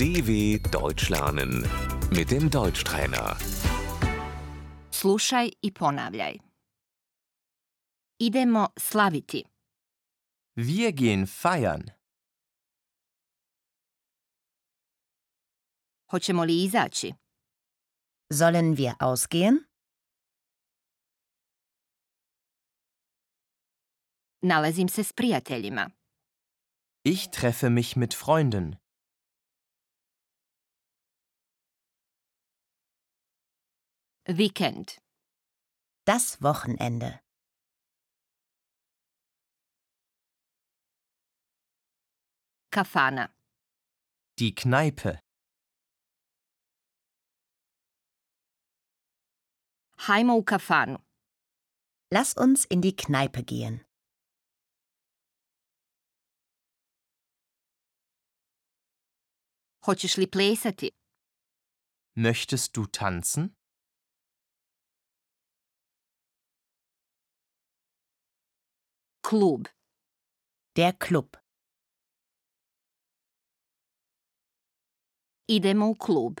DW Deutsch lernen mit dem Deutschtrainer. Slušaj i ponavljaj. Idemo slaviti. Wir gehen feiern. Hoćemo li izaći? Sollen wir ausgehen? Nalazim se s prijateljima. Ich treffe mich mit Freunden. Vikend. Das Wochenende. Kafana. Die Kneipe. Hajmo u kafanu. Lass uns in die Kneipe gehen. Hoćeš li plesati? Möchtest du tanzen? Klub. Der Club. Idemo u klub.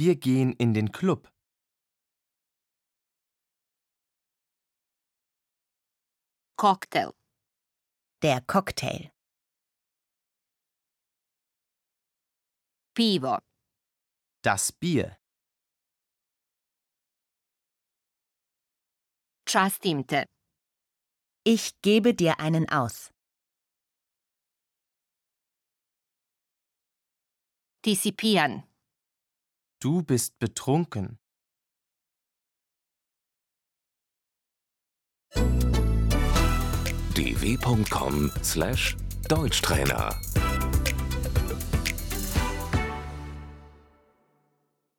Wir gehen in den Club. Koktel. Der Cocktail. Pivo. Das Bier. Častim te. Ich gebe dir einen aus. Ti si pijan. Du bist betrunken. dw.com/deutschtrainer